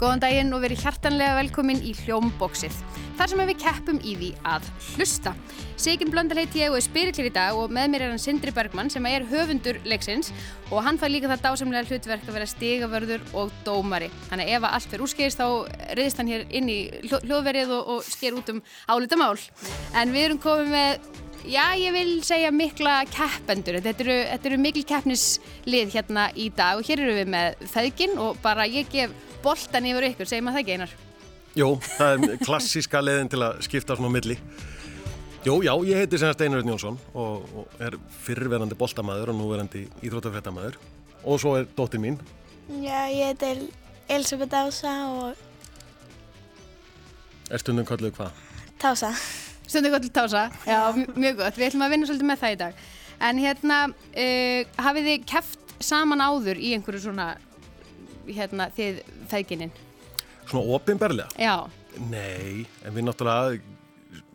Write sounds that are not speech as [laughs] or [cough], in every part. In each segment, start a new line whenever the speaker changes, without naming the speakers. Góðan daginn og verið hjartanlega velkomin í Hljómboxið. Þar sem við keppum í því að hlusta. Sigyn Blöndal heiti ég og er spyrirklir í dag og með mér er hann Sindri Bergmann sem er höfundur leiksins og hann fær líka það dásamlega hlutverk að vera stigavörður og dómari. Þannig að ef að allt fyrir úrskeiðist þá reyðist hann hér inn í hljó- hljóðverið og, og sker út um álita mál. En við erum komið með Já, ég vil segja mikla keppendur. Þetta eru, þetta eru mikil keppnislið hérna í dag og hér eru við með feðgin og bara ég gef boltan yfir ykkur, segjum að það ekki einar.
Jó, það er klassíska leiðin til að skipta svona á milli. Jó, já, ég heiti sem að Steinar Örn Jónsson og, og er fyrirverandi boltamaður og núverandi íþróttafréttamaður. Og svo er dóttir mín.
Já, ég heiti El- Elisabeth Ása og
Er stundum kalluð hvað?
Tása.
Stundu gott til tása, já, m- mjög gott. Við ætlum að vinna svolítið með það í dag. En hérna, uh, hafið þið keppt saman áður í einhverju svona, hérna, þið feðginin?
Svona opinberlega?
Já,
Nei, en við náttúrulega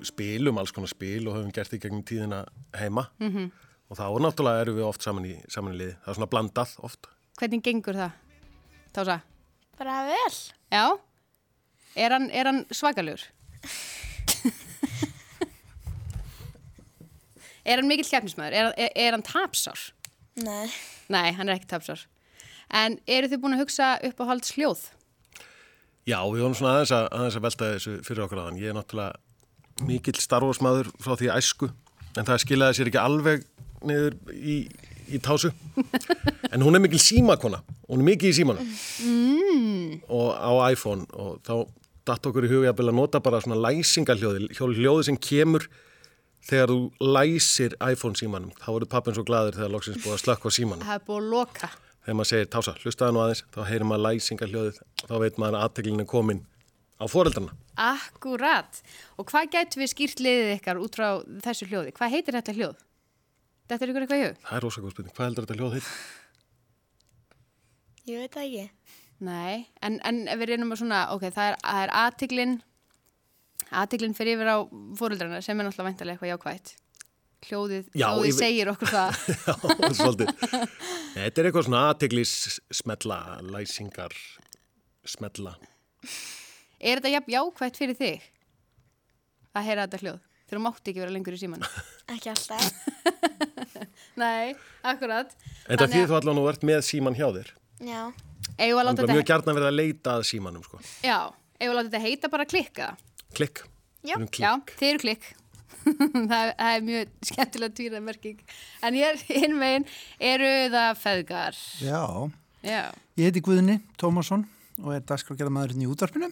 spilum alls konar spil og höfum gert því gegnum tíðina heima. -hmm. Og þá náttúrulega erum við oft saman í, saman í liði. Það er svona blandað oft.
hvernig gengur það, tása?
Bara vel.
Já, er hann, er hann svakalur? [laughs] er hann mikill keppnismæður? Er, er, er hann tapsár?
Nei.
Nei, hann er ekki tapsár. En eru þið búin að hugsa upp á halds hljóð?
Já, við vorum svona aðeins að, aðeins að velta þessu fyrir okkur aðan. Ég er náttúrulega mikill starfosmaður frá því æsku, en það skilaði sér ekki alveg niður í, í tásu. En hún er mikill símakona, hún er mikið í símanum og á iPhone og þá datt okkur í hugi að byrja að nota bara svona læsingaljóði, hjó- hljóði sem kemur þegar þú læsir iPhone símanum. Þá voru pappin svo gladur þegar loksins búið að slökka á símanum
Það er búin að loka.
þegar maður segir tása, hlustaðu nú aðeins, þá heyrir maður læsingarhljóðið, þá veit maður að aðteklinn er komin á foreldrana.
Akkurat. Og hvað gætu við skýrt liðið ykkar út frá þessu hljóði? Hvað heitir þetta hljóð? Þetta er ykkur eitthvað í hug?
Það er rosa góð spurning, hvað heldur þetta hljóð heitir?
Ég veit það ekki.
Nei, en, en ef við reynum að svona, ok, það er, það er aðtiklin, aðtiklin fyrir yfir á fóröldrarna sem er náttúrulega væntalega eitthvað jákvætt. Hljóðið,
Já,
hljóðið
yfir-
segir okkur það.
[laughs]
[laughs]
Já, svolítið. Nei, Þetta er eitthvað svona aðteklis smetla, læsingar smetla.
er þetta jafn jákvætt fyrir þig að heyra þetta hljóð? Þegar þú mátti ekki vera lengur í símanum.
Ekki alltaf.
Nei, akkurat.
En það þýðir þú allan og ert með síman hjá þér.
Já.
Eigum við að
Það
láta
er mjög
þetta,
gjarnan verið að leita að símanum, sko.
já, eigum við að láta þetta heita bara klikka.
Klikk.
Já.
Við erum
Já,
klikk.
þið eru klikk. [laughs] það, er- það er mjög skemmtilega tvírað merking. En hér [laughs] hinn megin eru það feðgar.
Já,
Já.
ég heiti Guðni Tómasson og er dagskrákjæðamæðurinn í útvarpinu.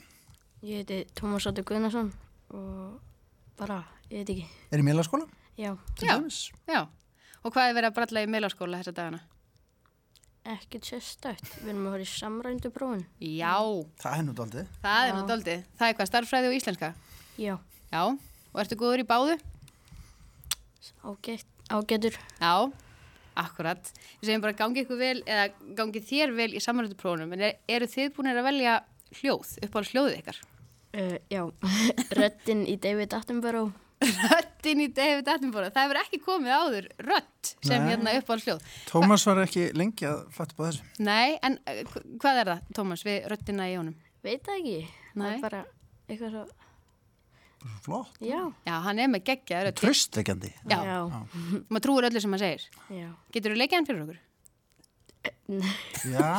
Ég heiti Tómas Óttur Guðnarsson og bara, ég veit ekki,
Er í meðlaskóla?
já,
Já. Já, og hvað er verið að bralla í meilaskóla þessa dagana?
ekkert sérstætt. Við erum að fara í samrændu prófin.
Já,
Það er nú daldið.
það er nú doldið. Það er hvað, starffræði og íslenska?
Já,
Já, og ertu góður í báðu?
ágætt, ágættur.
Já, akkurat. Við segjum bara gangi ykkur vel, eða gangi þér vel í samrönduprófunum, en er, eru þið búin að velja hljóð, uppáhalds hljóðið ykkar? [laughs]
Uh, [laughs] já, röddinn í David Attenborough.
Röttin í David Attenborough, það hefur ekki komið áður rött sem
Nei.
hérna uppáhalds hljóð.
Tómas var ekki lengi að fatta bá þessu.
Nei, en eh, hv- hvað er það, Tómas, við röttina í honum?
Veit það ekki. Það
Nei.
er bara eitthvað svo,
Flott.
já,
Já, hann er með geggja rött.
Tröstvekjandi.
Já,
já,
maður trúir öllu sem hann segir.
já.
Getur þú leikið hann fyrir okkur? [laughs]
Já.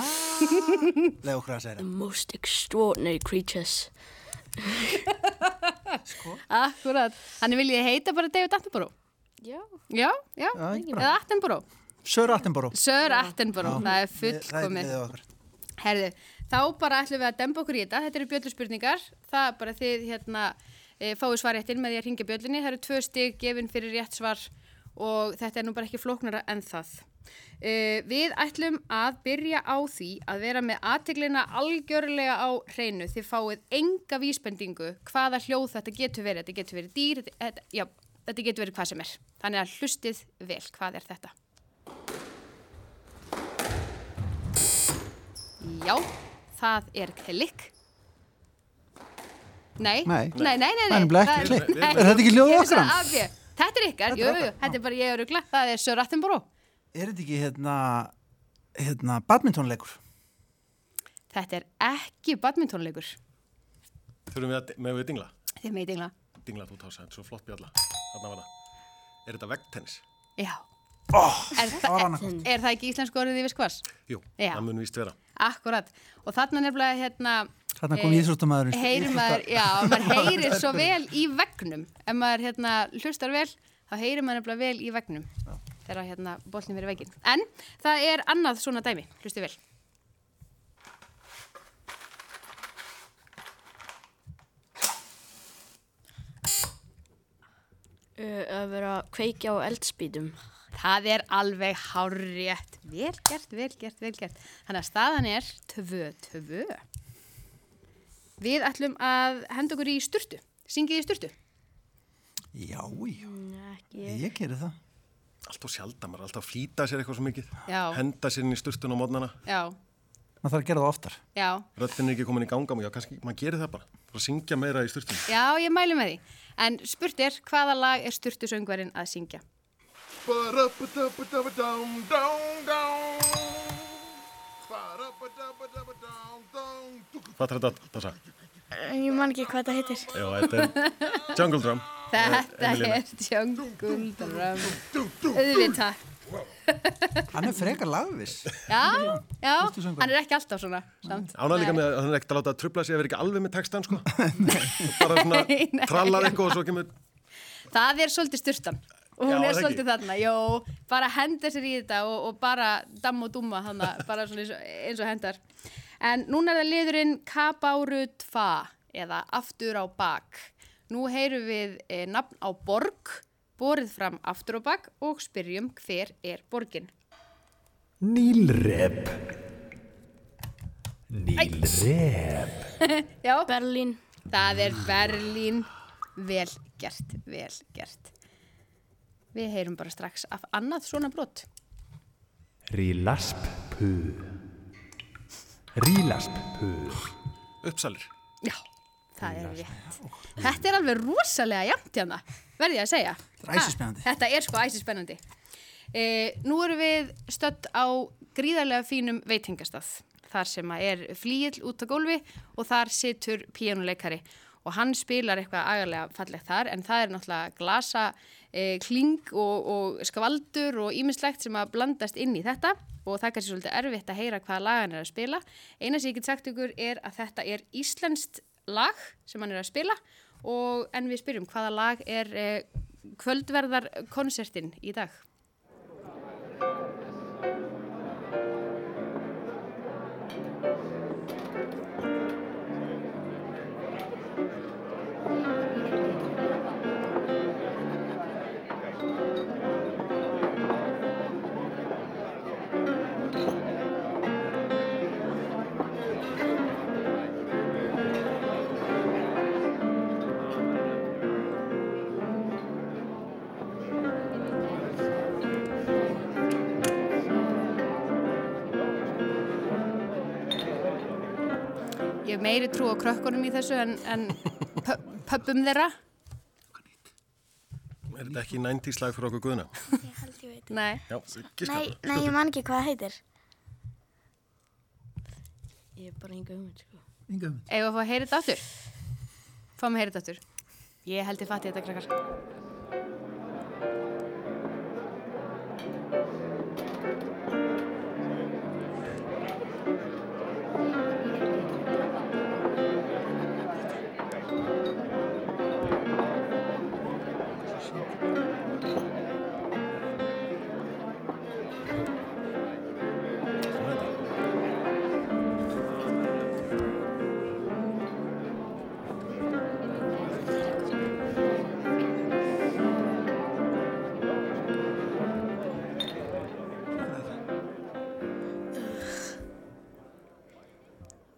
Leð okkur að segja
The
það.
most extraordinary creatures.
Akkurat, hann viljið heita bara David Attenborough
Já,
Já, já,
Já, ekki bara.
eða Attenborough
Sör Attenboró.
Sör Attenborough, það er
Það
fullkomið
er við okkur.
Herðu, þá bara ætlum við að demba okkur í þetta Þetta eru bjölluspurningar Það er bara þið hérna e, fáið svarréttin með því að ringja bjöllunni Það eru tvö stig gefin fyrir rétt svar og þetta er nú bara ekki flóknara en það e, Við ætlum að byrja á því að vera með aðteglina algjörlega á hreinu Þið fáið enga vísbendingu hvaða hljóð þetta getur verið Þetta getur verið dýr, þetta, þetta, já, þetta getur verið hvað sem er Þannig að hlustið vel, hvað er þetta? Já, það er klikk. Nei,
Nei.
nei, nei, nei,
Það er nefnilega ekki
það
klikk.
nei.
Er þetta ekki hljóð
Ég er
okkar?
svona AB. Þetta er ykkar, jú, jú, þetta er bara ég er rugla, það er Sir Attenborough.
Er þetta ekki hérna, hérna badmintonleikur?
Þetta er ekki badmintonleikur.
Þurfum við að, með við dingla?
Þið meit engla.
Dingla þú tása, þetta er svo flott bjalla. Þarna var það. Er þetta veggtennis?
Já. er, það,
var
er,
annað.
er það ekki íslensku orðið yfir skvars?
Jú,
Já.
það mun víst vera.
Akkurat. Og þarna nefnilega hérna...
Þarna kom
eh,
íþróttamaðurinn.
Heyrir maður,
[laughs]
já, maður heyrir svo vel í vegnum. Ef maður hérna hlustar vel, þá heyrir maður nefnilega vel í vegnum. Þegar hérna bólnum verið veginn. En það er annað svona dæmi, hlustu vel.
Uh, að vera að kveikja á eldspýtum.
Það er alveg hárétt. Vel gert, vel gert, vel gert. Þannig að staðan er tvö, tvö. Við ætlum að henda okkur í sturtu. Syngið í sturtu.
Já, já,
Mm,
Nei, ekki ég.
ég gerir það.
Allt og sjaldan, maður er alltaf að flýta sér eitthvað svo mikið.
Já.
Henda sér inn í sturtun á mótnana.
Já,
Maður þarf að gera það oftar.
já,
Röttin er ekki komin í ganga, já, kannski, maður gerir það bara. Það að syngja meira í sturtun.
já, ég mælu með því. En spurt er, hvaða lag er sturtu söngvarinn að syngja?
Hvað þarf þetta að tasa?
Ég man ekki hvað það heitir.
Já, þetta er Jungle Drum.
Þetta
Emilíana.
er Jungle Drum. Auðvitað.
Hann er frekar lagvis.
Já, já,
Sturtusöngvarinn.
hann er ekki alltaf svona. Samt.
Ánað líka með að hann er ekkert að láta að trubla sig, ég verð ekki alveg með
[laughs]
textan, sko. bara svona
Nei, nei.
trallar eitthvað og svo kemur...
Það er svolítið styrtan og
Já,
hún er
það
svolítið þarna, jú, bara henda sér í þetta og, og bara damm og dumma
[laughs]
þarna, bara svona eins og, eins og hendar. En núna er það liðurinn Kabárut Fa eða Aftur á bak. Nú heyrum við e, nafn á borg, borið fram aftur á bak og spyrjum hver er borgin.
Nílrep Nílrep
Já,
Berlín.
það er Berlín. Vel gert, vel gert. Við heyrum bara strax af annað svona brot.
Rílaspu Rílaspu
Uppsalir.
Já, það er rétt. Þetta er alveg rosalega jæmt hérna, verði ég að segja.
Þetta er æsispennandi.
Ha, Þetta er sko æsispennandi. E, nú erum við stödd á gríðarlega fínum veitingastað, þar sem að er flíill út á gólfi og þar situr píanuleikari og hann spilar eitthvað agalega fallegt þar en það er náttúrulega glasa, e, kling og, og skvaldur og ímislegt sem að blandast inn í þetta og það er kannski svolítið erfitt að heyra hvaða lag hann er að spila. Eina sem ég get sagt ykkur er að þetta er íslenskt lag sem hann er að spila og en við spyrjum hvaða lag er e, kvöldverðarkonsertin í dag? Ég hef meiri trú á krökkunum í þessu en, en pö- pöbbum þeirra.
Er þetta ekki 90s lag fyrir okkur guðuna?
Ég held ég veit.
Nei.
Já, gíska.
Nei, nei, ég man ekki hvað það heitir.
Ég er bara enga hugmynd, sko.
Inga um þetta.
Eða að fá að heyra þetta aftur? Fáum að heyra þetta aftur. Ég held ég fatti þetta krakkar.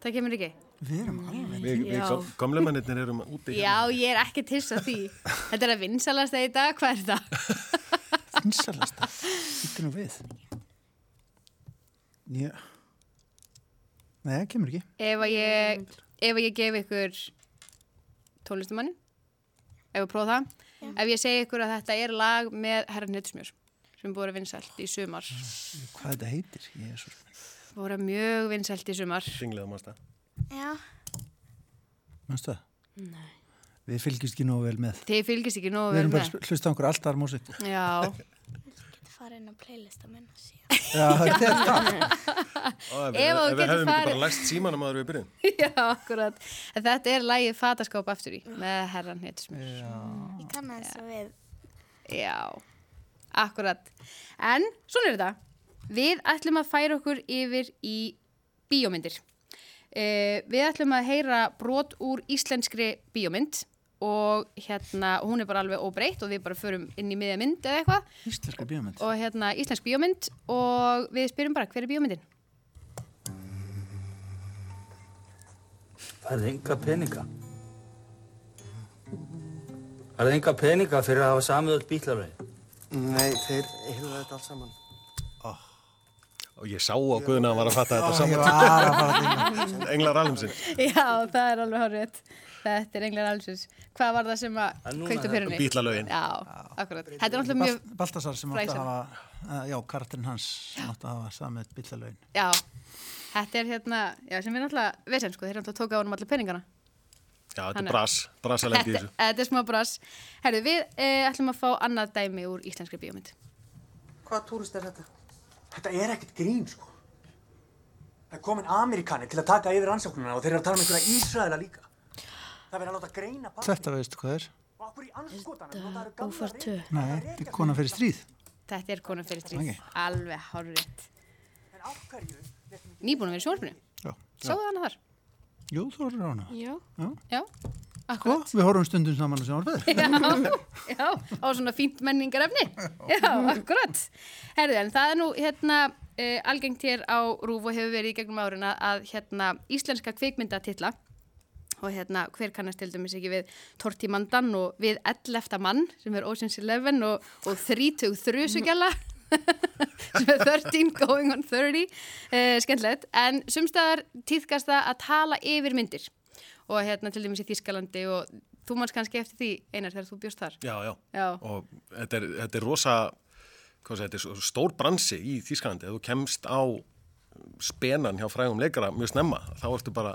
Það kemur ekki?
Við erum alveg.
Við, við
Já.
gam- gamle mennirnir erum úti hérna
Já, ég er ekki tilst að því. Þetta er að vinsalast það í dag, hvað er það?
Vinsalast það. Ítti nú við. Já. Nei, það kemur ekki.
Ef að ég, ef að ég gef ykkur tónlistumannin, ef við prófa það, ef ég segi ykkur að þetta er lag með herran Hittusmjör, sem sem voru vinsælt í sumar
Hvað þetta heitir? Ég er svo spennt.
voru mjög vinsælt í sumar
Ringlega mannst það.
Já,
Manstu það?
Nei.
Við fylgjumst ekki nógu vel með.
Þið fylgist ekki nógu
Við
vel
erum bara
með
að hlusta á einhverja alltaf músík.
Já,
getur farið inn á playlista minna síðan.
Já, [laughs] þetta er það.
Ef
Ef þú
við
getur
hefum ekki
farið-
bara læst símanum aður við byrjum.
[laughs] já, akkurat En Þetta er lægið Fataskáp aftur í með herran hétsmur
Ég kann að þess að við
Já, akkurat En svona er þetta Við ætlum að færa okkur yfir í bíómyndir uh, Við ætlum að heyra brot úr íslenskri bíómynd og hérna, hún er bara alveg óbreytt og við bara förum inn í miðja mynd eða eitthvað
Íslenska bíómynd.
og hérna íslensk bíómynd og við spyrjum bara hver er bíómyndin?
Færðu enga peninga? Færðu enga peninga fyrir að hafa samið öll bílarvegi?
Nei, þeir heyrðu þetta allt saman.
Og ég sá á guðuna að hann var að fatta þetta
Ég
saman.
var að fara til það.
[laughs] Englar alheimsins.
Já, það er alveg horfitt. Þetta er englar allsins. Hvað var það sem að
En núna
kveikt upp fyrir henni?
Bítlalögin.
Já, akkurat. Þetta er náttúrulega mjög,
Baltasar sem átti að
Fræsara.
hafa, eh, já, karakterinn hans sem átti að hafa samið bílalögin.
já, þetta er hérna, já, sem er náttúrulega vesen, sko, þeir náttúrulega tóka á honum allir peningana.
Já, þetta
Hann er-
er bras.
[laughs]
Brasalendi í
Þetta,
þessu.
þetta er smá brass. Herru, við eh, ætlum að fá annað dæmi úr íslenskri bíómynd.
Hvaða túrist er þetta?
Þetta er ekkert grín, sko. Það er komin Amerikani til að taka yfir rannsóknuna og þeir eru að tala um einhverja Ísraela líka. Það verður að láta greina barnið.
Þetta veistu hvað er?
Og okkur í anskotanum
Þetta
notaður gamla
ófært
reglur.
tvö.
Nei, þetta er kona fyrir stríð.
Þetta er konan fyrir stríð.
Ok.
Alveg horfitt.
En af hverju letum við
Nýbúin að vera í sjónvarpinu.
Já.
Sáðu hana þar?
Jú, þú horfður á hana.
Já.
Já,
Sko,
akkurat.
við horfum stundum saman og sem
[laughs]
orðveður.
Já, á svona fínt menningarefni. Já, akkurat. Herðu, en það er nú hérna uh, algengt hér á Rúf og hefur verið í gegnum áruna að hérna íslenska kvikmyndatitla og hérna hver kannast til dæmis ekki við Tortimandan og við 11. mann sem er Ocean's Eleven og, og 30 þrjusugjala [laughs] sem er 13 going on 30 uh, skemmtilegt, en sumstaðar týðkast það að tala yfir myndir og hérna til dæmis í Þískalandi og þú manns kannski eftir því einar þegar þú bjóst þar
Já, já.
Já,
og þetta er, þetta er rosa hvað sé, þetta er svo stór bransi í Þýskalandi ef þú kemst á spenan hjá frægum leikara mjög snemma þá ertu bara,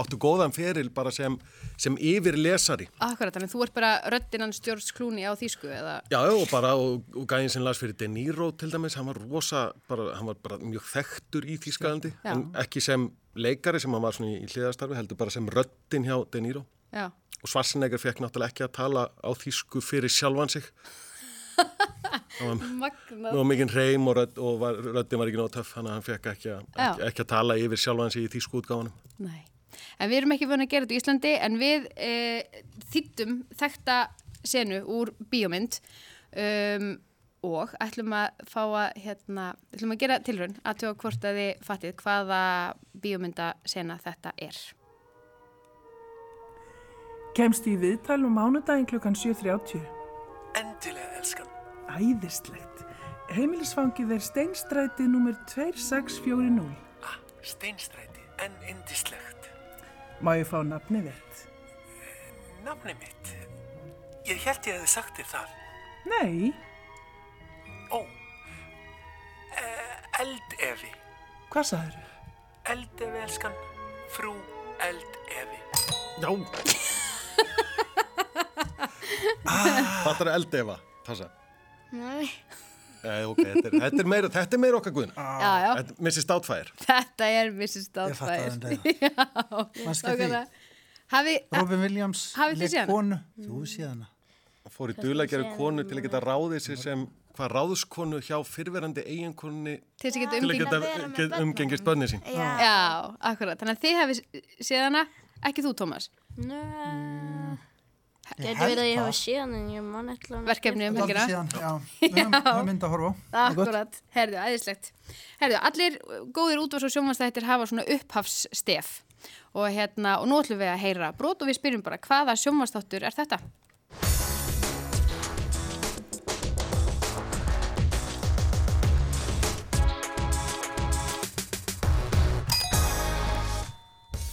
áttu góðan feril bara sem, sem yfir lesari
akkurat, þannig þú ert bara röddinan Stjórns Klúni á Þísku eða
Já, já, og bara, og, og gæðin sem las fyrir De Niro til dæmis, hann var rosa, bara, hann var bara mjög þekktur í Þýskalandi,
Já.
en ekki sem leikari sem hann var svona í, í hliðastarfi, heldur bara sem röddin hjá De Niro.
Já,
Og Svarsenegger fekk náttúrulega ekki að tala á Þýsku fyrir sjálfan sig. Það var
magnað
Nú var mikinn reym og, rödd, og var, röddin var ekki nóg töff, þannig að hann fekk ekki, að-
Já.
ekki, ekki að tala yfir sjálfan sig í þýsku útgáfanum.
Nei, en við erum ekki vöna að gera þetta í Íslandi en við e, þýttum þekta senu úr bíómynd um, og ætlum að fá að hérna, ætlum að gera tilraun að tjóða hvort að þið fattið hvaða bíómyndasena þetta er [laughs]
Kemst í viðtal um mánudaginn klukkan 7.30.
Endilega, elskan.
Æðislegt. Heimilisfangið er steinstræti nummer 2640.
Ah, steinstræti, en indislegt.
Má ég fá nafnið þitt?
Nafni mitt. Ég held ég hefði sagt þér þar.
Nei,
Ó. Eh, Eldefi.
hvað sagður?
Eldefi, elskan. Frú Eldefi.
Já. Fattar að eldefa, passa.
Nei.
Eh, ok, þetta er, þetta er meira, þetta er meira okkar guðin.
Já, já,
Þetta er Mrs. Doubtfire.
þetta er Mrs.
Ég fatt að
Doubtfire
þetta er það.
[laughs]
Manstu eftir því?
Nákvæmlega. Hafi,
Robin Williams,
Hafið þið
lék
séð hana?
konu. Þú séð hana.
Fór í duðlegjari konu til að geta ráðið sér sem hvað ráðskonu hjá fyrverandi eiginkonni
til þess Um að geta
til að
umgengt
geta
vera með
get,
börnunum.
umgengist bönni sín.
Já.
Já, akkurat, þannig að þið hafi séð hana ekki þú, Tómas,
Nei.
held
Gæti verið að ég
það.
hafa séð hann en ég man eitthvað.
verkefni um helgina
Síðan, já, við höfum- við höfum mynd að horfa á. Það er gott.
Akkurat, herðu, æðislegt. Herðu, allir uh, góðir útvars og sjónvarsþættir hafa svona upphafsstef og hérna, og nú ætlum við að heyra brot og við spyrjum bara hvaða sjónvarsþáttur er þetta?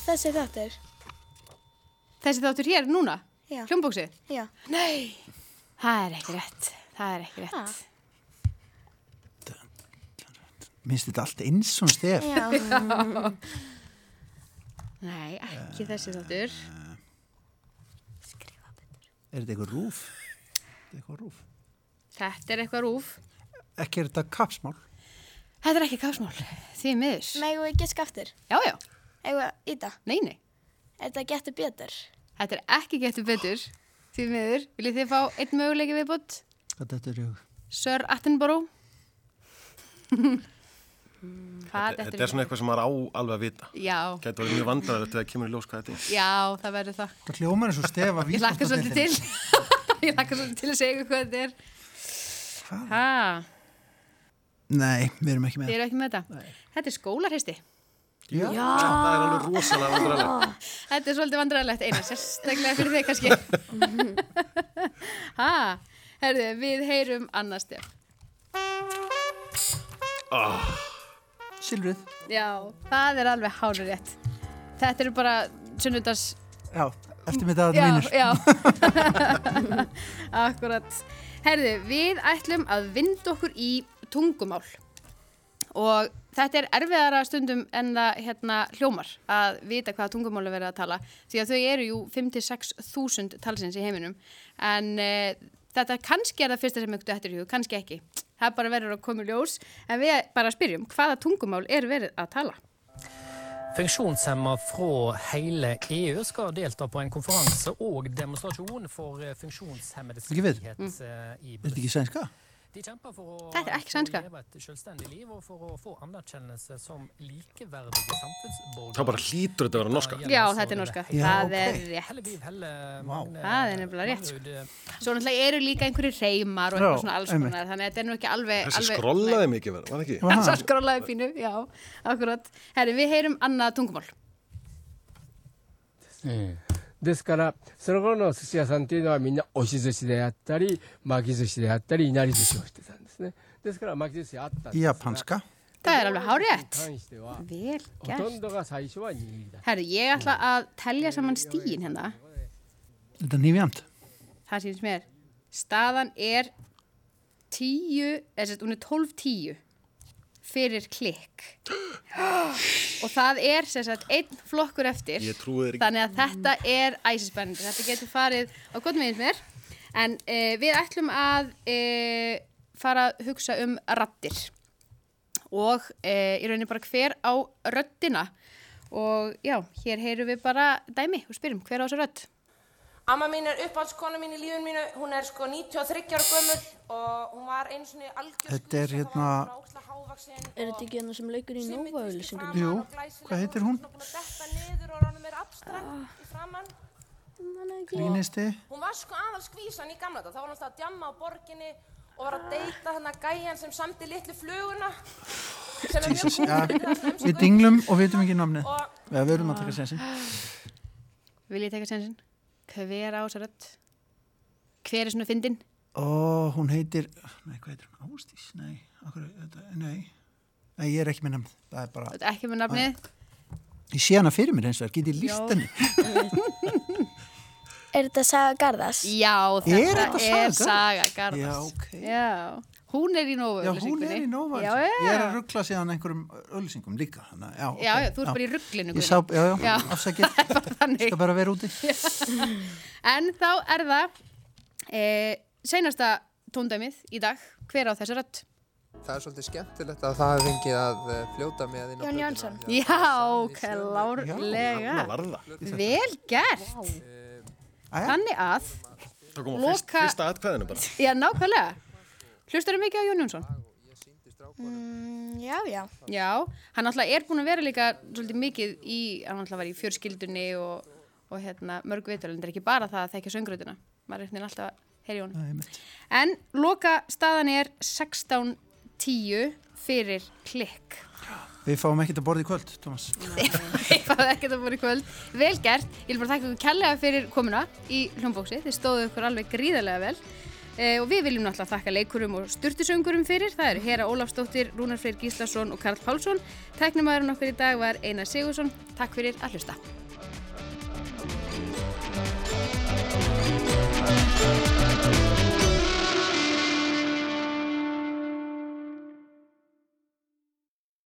Þessi þáttur.
Þessi þáttur hér núna?
Já.
Hljómbóksið?
Já.
Nei, það er ekki rétt, það er ekki rétt.
minnst þetta allt eins og stef.
Já,
Nei, ekki þessi þáttur.
Er þetta eitthvað rúf? Þetta er eitthvað rúf.
Þetta er eitthvað rúf.
Ekki er þetta kapsmál?
Þetta er ekki kásmál, því miður.
[laughs] megum við giska aftur.
Já, já,
Eigum við í það.
nei, nei.
Er þetta getur betur?
Þetta er ekki getur betur, því miður. Viljið þið fá einn möguleiki viðbútt?
Hvað þetta er hug?
Sir
[laughs]
Attenborough? Hvað
Þetta er svona eitthvað sem maður á alveg að vita.
Já,
Gæti verið mjög vandræðilegt þegar kemur í ljós hvað þetta er.
já, það verður það.
Það hljómar eins og stef að
Ég
vísa.
lakka svolítið til. [laughs] Ég lakka svolítið til að segja ykkur hvað þetta er. Hæ?
Nei, við erum ekki
Þið
með.
eru ekki með þetta? Þetta er skólarhesti.
Já. Já.
Það er alveg rosalega vandræðilegt.
Þetta er svolítið vandræðilegt
[laughs]
eina, sérstaklega fyrir þig kannski. Hæ? Herðu, við heyrum annars stef.
Silfrið.
Já, það er alveg hálur rétt. Þetta eru bara sunnudags...
Já, eftir með þetta
Já,
að vinur.
já.
[laughs]
[laughs] Akkurat. Herðu, við ætlum að vinda okkur í tungumál. Og þetta er erfiðara stundum en það hérna, hljómar að vita hvaða tungumáli verið að tala því að þau eru jú 5-6 þúsund talsins í heiminum en uh, þetta kannski er það fyrsta sem ykkur eftir hug, kannski ekki. Það bara verður að koma í ljós en við bara spyrjum hvaða tungumál er verið að tala?
Funksjonshemma fra hele EU skal E delta på en konferanse og demonstrasjon for eh, funksjonshemmedes
Ikke vet.
frihet eh, i
Er þetta
Brussel.
ekki sænska?
De kjemper for å
Dette er ikke
få
svenska.
leve et selvstendig liv og for å få anerkjennelse som likeverdige samfunnsborgere.
Það bara hlýtur þetta að vera norska.
Já, þetta er norska.
Já,
það
ok.
er rétt.
Helle Biv, Helle Magne,
Það er nefnilega rétt, sko.
Magnrud, eh,
Svo náttúrulega eru líka einhverju reymar og
Já,
eitthvað svona alls
einmitt.
konar, þannig að þetta er nú ekki alveg...
Þessi
alveg-
skrollaði mikið verið, var það ekki?
Nei, Þessar skrollaði pínu, já, akkurat. Herri, við heyrum annað tungumál.
ですから、その頃の寿司屋さんっていうのはみんな押し寿司であったり、巻き寿司であったり、いなり寿司をしてたんですね。ですから巻き寿司あったんですが、
Japanska.
Það er alveg hárétt.
関しては、
Vel
ほとん
gert.
どが最初は握りだ。
Herri, ég ætla að telja saman stíin hérna.
Þetta er nýfjönd.
Það sýnst mér. Staðan er tíu, eða sett, hún er tólf tíu fyrir klikk. [gasps] Og það er, sem sagt, einn flokkur eftir.
Ég trúi þér ekki.
Þannig að þetta er æsispennandi. Þetta getur farið á gott meðins mér. En uh, við ætlum að uh, fara að hugsa um rattir. Og uh, í rauninni bara hver á röddina. Og já, hér heyrum við bara dæmi og spyrjum hver á þessu rödd.
Amma mín er uppáhaldskona mín í lífun mínu, hún er sko 93 ára gömul og hún var eins og niður algjör
Þetta er hérna,
Er þetta ekki hérna sem leikur í Nova-auðlýsingunum?
jú, hvað heitir hún?
Ah.
Grínisti.
Hún var sko aðal skvísan í gamla þetta, þá var hann alltaf að djamma á borginni og var að deyta hann að gæjan sem samti litlu fluguna sem er mjög
Já,
góð
við dinglum og vitum ekki namnið.
og
Já, við erum að taka sensin.
Vil ég teka sensin? Hver á þessu rödd? Hver er svona fyndin?
Ó, hún heitir, nei, hvað heitir hún? Ástís? Nei, okkur, þetta, nei. Nei, ég er ekki með namnið. Það er bara,
Þú ert ekki með
Ah.
nafnið?
ég sé hana fyrir mér eins og það, get ég líst henni.
Er þetta saga Garðas?
Já, þetta
Er þetta Saga
er Saga Garðars.
Já, ok.
Já, hún er í Nova
Já, hún er í Nova.
Já,
Ég er að
já,
ruggla síðan einhverjum ölsingum líka. Hana, já, ok.
já, já, þú ert bara í rugglinu
Ég sá,
[laughs]
já, já,
Já.
afsakið.
þannig.
Skal bara vera úti.
[laughs] En þá er það e, seinasta tóndæmið í dag, hver á þessa rödd?
Það er svolítið skemmtilegt að það hefði fengið að eh, fljóta með inn á
Jón
plötuna.
Jónsson.
Já,
Það
klárlega.
var það.
Vel gert.
Æja.
Þannig að,
Það kom á
Loka-
fyrst, fyrsta atkvæðinu bara.
já, nákvæmlega. Hlustar þú mikið á Jón Jónsson?
Mm, já, já.
Já, hann alltaf er búin að vera líka svolítið mikið í, hann alltaf var í fjörskildunni og, og hérna, mörg viðtölu, en það er ekki bara það að þekka söngröðina. Maður er einhvern veginn alltaf að heyri honum.
Nei, einmitt.
En loka staðan er 16.10 fyrir klikk.
Við fáum ekkert að borða í kvöld, Thomas.
[laughs] Ég fáði ekkert að búin í kvöld. Vel gert. Ég vil bara þakka ykkur kellega fyrir komuna í hljómbóksi. Þið stóðu ykkur alveg gríðarlega vel. Eh, og við viljum náttúrulega þakka leikurum og styrtusöngurum fyrir. Það eru Hera Ólafsdóttir, Rúnar Freyr Gíslason og Karl Pálsson. Tæknumæðurinn okkar í dag var Einar Sigursson. Takk fyrir að hlusta.